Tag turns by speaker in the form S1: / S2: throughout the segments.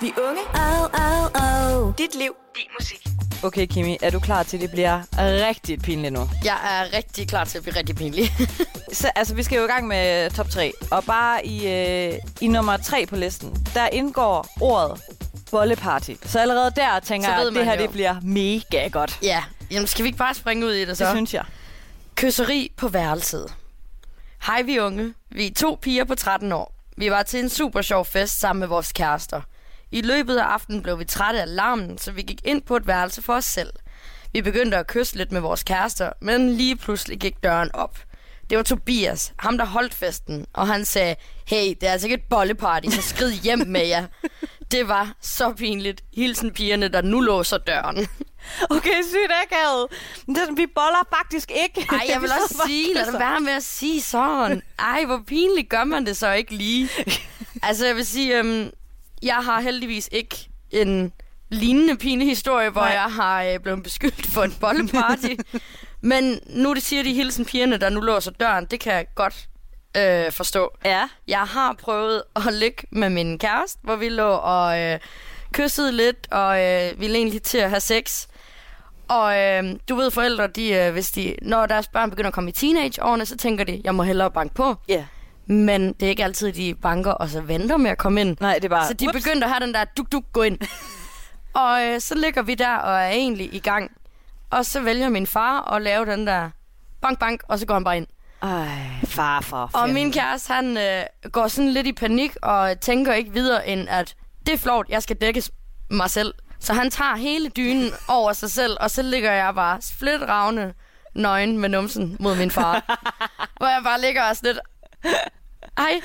S1: Vi unge.
S2: Oh, oh, oh.
S1: Dit liv. Din musik.
S3: Okay, Kimi, er du klar til, at det bliver rigtig pinligt nu?
S4: Jeg er rigtig klar til at blive rigtig pinlig.
S3: Så, altså, vi skal jo i gang med øh, top 3. Og bare i, øh, i nummer 3 på listen, der indgår ordet bolleparty. Så allerede der tænker
S4: Så
S3: jeg, at
S4: ved
S3: det
S4: man
S3: her
S4: jo.
S3: det bliver mega godt.
S4: ja, jamen skal vi ikke bare springe ud i det
S3: Det
S4: så?
S3: synes jeg.
S4: Kysseri på værelset. Hej vi unge. Vi er to piger på 13 år. Vi var til en super sjov fest sammen med vores kærester. I løbet af aftenen blev vi trætte af larmen, så vi gik ind på et værelse for os selv. Vi begyndte at kysse lidt med vores kærester, men lige pludselig gik døren op. Det var Tobias, ham der holdt festen, og han sagde, hey, det er altså ikke et bolleparty, så skrid hjem med jer. Det var så pinligt. Hilsen pigerne, der nu låser døren.
S3: Okay, sygt akavet. Men det er sådan, Vi boller faktisk ikke.
S4: Ej, jeg vil
S3: Vi
S4: også
S3: sidder bare
S4: sige,
S3: og
S4: lad det
S3: kysser.
S4: være med at sige sådan. Ej, hvor pinligt gør man det så ikke lige. Altså, jeg vil sige, øhm, jeg har heldigvis ikke en lignende pinlig historie, hvor
S3: Nej.
S4: Nej. jeg har øh, blevet beskyldt for en bolleparty. Men nu det siger de hilsen pigerne, der nu låser døren, det kan jeg godt øh, forstå.
S3: Ja.
S4: Jeg har prøvet at ligge med min kæreste, hvor vi lå og øh, kyssede lidt, og øh, ville egentlig til at have sex. Og øh, du ved, forældre, de, øh, hvis de, når deres børn begynder at komme i teenageårene, så tænker de, jeg må hellere banke på.
S3: Ja.
S4: Men det er ikke altid, de banker og så venter med at komme ind.
S3: Nej, det er bare...
S4: Så de
S3: Whoops.
S4: begyndte at have den der duk-duk gå ind. og øh, så ligger vi der og er egentlig i gang. Og så vælger min far at lave den der bank-bank, og så går han bare ind.
S3: Ej, far for
S4: Og
S3: fanden.
S4: min kæreste, han øh, går sådan lidt i panik og tænker ikke videre end, at det er flot, jeg skal dække s- mig selv. Så han tager hele dynen over sig selv, og så ligger jeg bare splitravne nøgen med numsen mod min far. hvor jeg bare ligger og sådan lidt... Hej.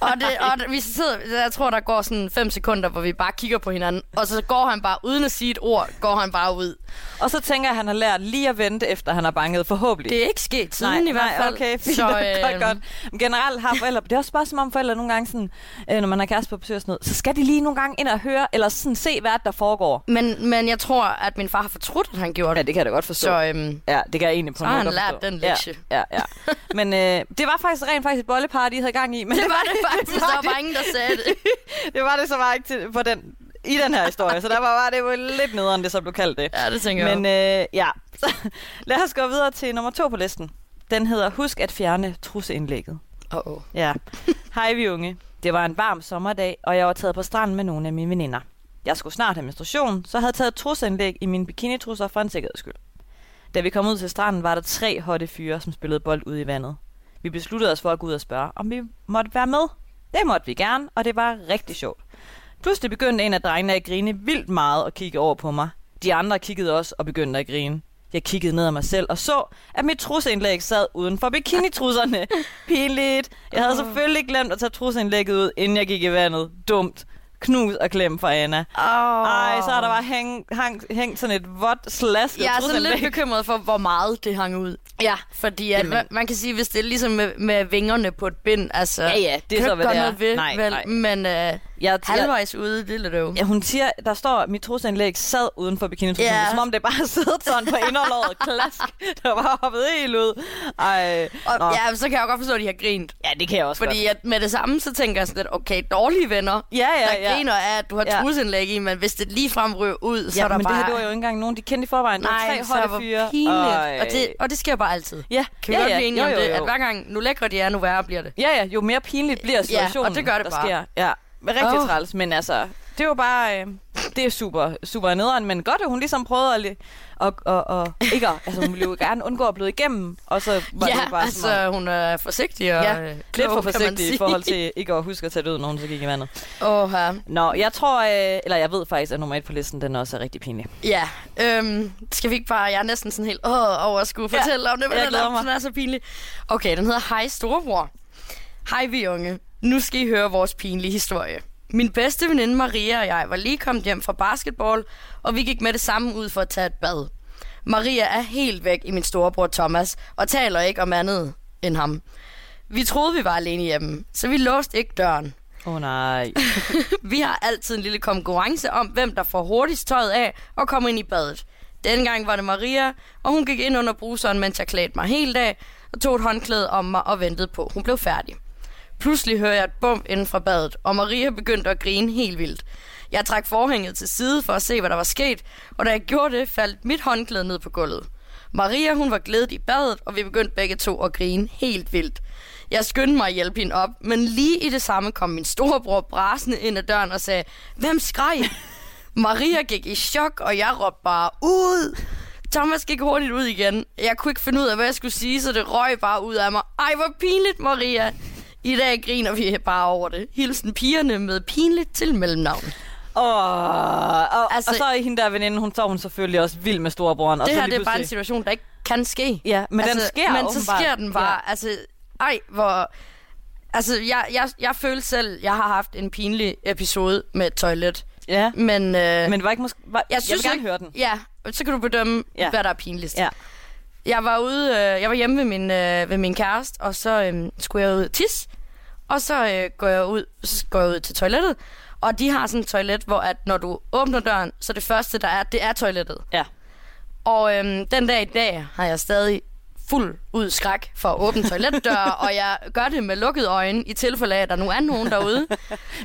S4: Og, det, og det, vi sidder, jeg tror, der går sådan 5 sekunder, hvor vi bare kigger på hinanden. Og så går han bare, uden at sige et ord, går han bare ud.
S3: Og så tænker jeg, at han har lært lige at vente, efter han har banket forhåbentlig.
S4: Det er ikke sket siden i hvert fald. øhm,
S3: Nej, okay, fint, så, øh... godt, godt. Men generelt har forældre, det er også bare som om forældre nogle gange sådan, øh, når man har kæreste på besøg og sådan noget, så skal de lige nogle gange ind og høre, eller sådan se, hvad der foregår.
S4: Men, men jeg tror, at min far har fortrudt, at han gjorde det.
S3: Ja, det kan jeg da godt forstå.
S4: Så øhm,
S3: Ja, det kan jeg egentlig på
S4: Så
S3: en
S4: har
S3: måde
S4: han
S3: godt
S4: lært
S3: forstå.
S4: den lektie.
S3: Ja, ja, ja. Men øh, det var faktisk rent faktisk et bolleparty, I havde gang i. Men
S4: Det var det faktisk. Der var bare ingen, der sagde det.
S3: det var det så bare ikke til, på den, i den her historie, så der var bare det var lidt nederen, det så blev kaldt det.
S4: Ja, det tænker
S3: Men øh, ja, så, lad os gå videre til nummer to på listen. Den hedder Husk at fjerne trusseindlægget.
S4: oh, oh.
S3: Ja. Hej vi unge. Det var en varm sommerdag, og jeg var taget på stranden med nogle af mine veninder. Jeg skulle snart have menstruation, så jeg havde taget trusseindlæg i mine bikinitrusser for en sikkerheds skyld. Da vi kom ud til stranden, var der tre hotte fyre, som spillede bold ude i vandet. Vi besluttede os for at gå ud og spørge, om vi måtte være med. Det måtte vi gerne, og det var rigtig sjovt. Pludselig begyndte en af drengene at grine vildt meget og kigge over på mig. De andre kiggede også og begyndte at grine. Jeg kiggede ned ad mig selv og så, at mit trusseindlæg sad uden for bikinitrusserne. Pinligt. Jeg havde selvfølgelig glemt at tage trusseindlægget ud, inden jeg gik i vandet. Dumt. Knus og klem fra Anna.
S4: Oh.
S3: Ej, så har der bare hængt hang, hængt sådan et vådt slasket
S4: Jeg er sådan lidt
S3: trusseindlæg.
S4: bekymret for, hvor meget det hang ud. Ja, fordi at
S3: Jamen.
S4: man, man kan sige, hvis det er ligesom med, med vingerne på et bind, altså...
S3: Ja, ja, det er
S4: kan
S3: så,
S4: du
S3: hvad
S4: gøre
S3: det er.
S4: noget Ved,
S3: Nej,
S4: vel,
S3: nej.
S4: Men øh,
S3: Jeg, jeg,
S4: halvvejs ude, det er lidt øv.
S3: ja, hun siger, der står, at mit trusseindlæg sad uden for bikinitrusserne.
S4: Ja.
S3: Som om det bare sad sådan på inderlåret. Klask. Der var hoppet helt ud. Ej. Nå.
S4: Og, ja, så kan jeg jo godt forstå, at de har grint.
S3: ja, det kan jeg også godt.
S4: Fordi at med det samme, så tænker jeg sådan lidt, okay, dårlige venner,
S3: Ja, ja,
S4: der
S3: ja.
S4: griner af, at du har
S3: Ja.
S4: trusindlæg i, men hvis det ligefrem ryger ud, så
S3: ja,
S4: er der
S3: men
S4: bare...
S3: det her, det var jo ikke engang nogen, de kendte i forvejen. Det var
S4: Nej,
S3: tre
S4: så hvor
S3: hotte fyre.
S4: pinligt. Og det, og det sker bare altid.
S3: ja,
S4: Kan vi
S3: ja,
S4: godt
S3: ja,
S4: blive enige
S3: jo,
S4: om
S3: jo,
S4: det? At
S3: jo.
S4: hver gang, nu lækre de er, nu værre bliver det.
S3: Ja, ja, jo mere pinligt bliver situationen,
S4: og det gør det
S3: der
S4: bare.
S3: Sker. Ja, men rigtig oh.
S4: Åh.
S3: træls, men altså, det var bare, øh, det er super, super nederen, men godt, at hun ligesom prøvede at, li- og, og, og, ikke, at- altså hun ville jo gerne undgå at blive igennem, og så var det jo bare
S4: altså
S3: sådan
S4: hun er forsigtig og
S3: Ja,
S4: ja,
S3: lidt for forsigtig i forhold til ikke at huske at tage det ud, når hun så gik i vandet.
S4: Åh, ja.
S3: Nå, jeg tror, øh, eller jeg ved faktisk, at nummer et på listen, den også er rigtig pinlig.
S4: ja. Øhm, skal vi ikke bare, jeg er næsten sådan helt åh, over at skulle
S3: Ja,
S4: fortælle om det, men
S3: jeg
S4: den
S3: glæder
S4: er,
S3: mig.
S4: den er så pinlig. Okay, den hedder Hej Storebror. Hej vi unge. Nu skal I høre vores pinlige historie. Min bedste veninde Maria og jeg var lige kommet hjem fra basketball, og vi gik med det samme ud for at tage et bad. Maria er helt væk i min storebror Thomas, og taler ikke om andet end ham. Vi troede, vi var alene hjemme, så vi låste ikke døren.
S3: Åh oh, nej.
S4: Vi har altid en lille konkurrence om, hvem der får hurtigst tøjet af og kommer ind i badet. Dengang var det Maria, og hun gik ind under bruseren, mens jeg klædte mig hele dag, og tog et håndklæde om mig og ventede på, hun blev færdig. Pludselig hører jeg et bum inden fra badet, og Maria begyndte at grine helt vildt. Jeg trak forhænget til side for at se, hvad der var sket, og da jeg gjorde det, faldt mit håndklæde ned på gulvet. Maria, hun var glædet i badet, og vi begyndte begge to at grine helt vildt. Jeg skyndte mig at hjælpe hende op, men lige i det samme kom min storebror brasende ind ad døren og sagde, Hvem skreg? Maria gik i chok, og jeg råbte bare, ud! Thomas gik hurtigt ud igen. Jeg kunne ikke finde ud af, hvad jeg skulle sige, så det røg bare ud af mig. Ej, hvor pinligt, Maria! I dag griner vi bare over det. Hilsen pigerne med pinligt til mellemnavn.
S3: Åh, og, altså,
S4: Altså-
S3: og så er hende der veninde, hun står hun selvfølgelig også vild med storebroren. og
S4: det
S3: så
S4: her
S3: lige
S4: det er bare en
S3: pludselig-
S4: situation, der ikke kan ske. Altså,
S3: Ja, men den sker
S4: Men så
S3: åbenbart.
S4: sker den bare. Ja. Altså, ej, hvor... Altså, jeg, jeg, jeg følte selv, jeg har haft en pinlig episode med et toilet.
S3: Ja,
S4: Men, øh,
S3: men var ikke måske... Var, jeg, synes jeg vil gerne
S4: ikke-
S3: høre den.
S4: Ja, og så kan du bedømme,
S3: Ja.
S4: ja. hvad der er pinligst.
S3: Ja.
S4: Jeg var ude, øh, jeg var hjemme ved min, øh, ved min kæreste, og så øh, skulle jeg ud og tisse. Og så øh, går jeg ud, så går jeg ud til toilettet, og de har sådan et toilet, hvor at når du åbner døren, så det første der er, det er toilettet.
S3: Ja.
S4: Og øhm, den dag i dag har jeg stadig fuld ud skræk for at åbne toiletdøre, og jeg gør det med lukkede øjne, i tilfælde af, at der nu er nogen derude.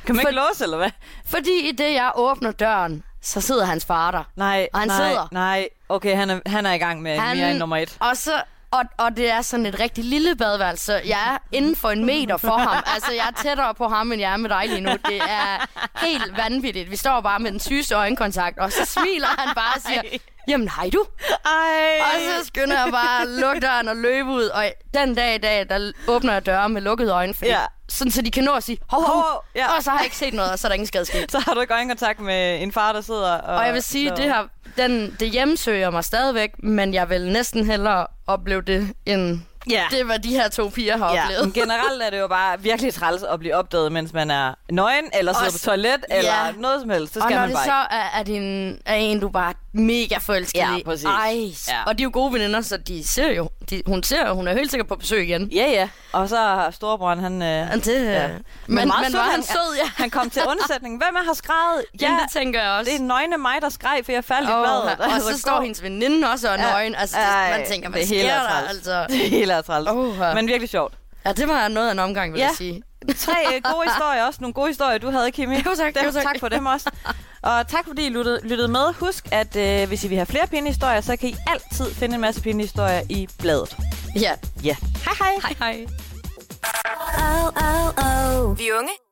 S3: Kan man
S4: For-
S3: ikke låse, eller hvad?
S4: Fordi i det, jeg åbner døren, så sidder hans far der.
S3: Nej,
S4: Og han
S3: nej,
S4: sidder.
S3: nej. Okay, han er, han er i gang med han... mere end nummer et.
S4: Og, så, og, og det er sådan et rigtig lille badeværelse. så Jeg er inden for en meter for ham. Altså, jeg er tættere på ham, end jeg er med dig lige nu. Det er helt vanvittigt. Vi står bare med den sygeste øjenkontakt, og så smiler han bare og siger, jamen hej du.
S3: Ej.
S4: Og så skynder jeg bare at lukke døren og løbe ud. Og den dag i dag, der åbner jeg døre med lukkede øjne. Fordi,
S3: Ja.
S4: ja. Sådan, så de kan nå at sige, hov, hov.
S3: Hov, ja.
S4: Og så har jeg ikke set noget, og så er der ingen skade sket.
S3: Så har du ikke øjenkontakt med en far, der sidder og...
S4: Og jeg vil sige,
S3: så-
S4: det her, den, det hjemsøger mig stadigvæk, men jeg vil næsten hellere opleve det, end
S3: Ja.
S4: det, hvad de her to piger
S3: Ja,
S4: har
S3: men
S4: oplevet.
S3: generelt er det jo bare virkelig træls at blive opdaget, mens man er nøgen, eller sidder
S4: Også-
S3: på toilet,
S4: Ja.
S3: eller noget som helst. Så
S4: Og
S3: skal
S4: når
S3: man
S4: det
S3: bare
S4: så er, er, din, er en, du bare er mega forelsket
S3: Ja,
S4: i.
S3: præcis.
S4: Ej,
S3: Ja.
S4: ja. Og de er jo gode veninder, så de ser jo. De, hun ser jo, hun er helt sikkert på besøg igen.
S3: ikke. Ja, ja. Og så har storebroren, han... Øh,
S4: Men det,
S3: Ja.
S4: ja.
S3: Men
S4: men, men,
S3: meget
S4: men
S3: sød,
S4: var
S3: han-
S4: han sød, ja.
S3: han kom til undsætning. Hvem er har skrevet?
S4: Ja, Jamen, det tænker jeg også.
S3: det er nøgne mig, der skreg, for jeg faldt i
S4: Åh,
S3: badet.
S4: og så står hendes veninde også og er
S3: Ja.
S4: nøgen. Altså, det,
S3: Ej,
S4: man tænker, hvad
S3: det er
S4: sker
S3: helt
S4: der?
S3: træls.
S4: Altså?
S3: Det er helt træls.
S4: Åh,
S3: Men virkelig sjovt.
S4: ja, det var noget af en omgang, vil
S3: Ja.
S4: jeg sige.
S3: Tre øh, gode historier også. Nogle gode historier, du havde, Kimi.
S4: Jo, tak,
S3: Dem,
S4: jo, tak.
S3: tak for dem også. Og tak fordi I lyttede, lyttede med. Husk, at øh, hvis I vil have flere pinde historier, så kan I altid finde en masse pinde historier i bladet.
S4: Ja,
S3: Ja. Hej hej.
S4: hej hej.
S2: oh, oh, oh.
S1: Vi er unge,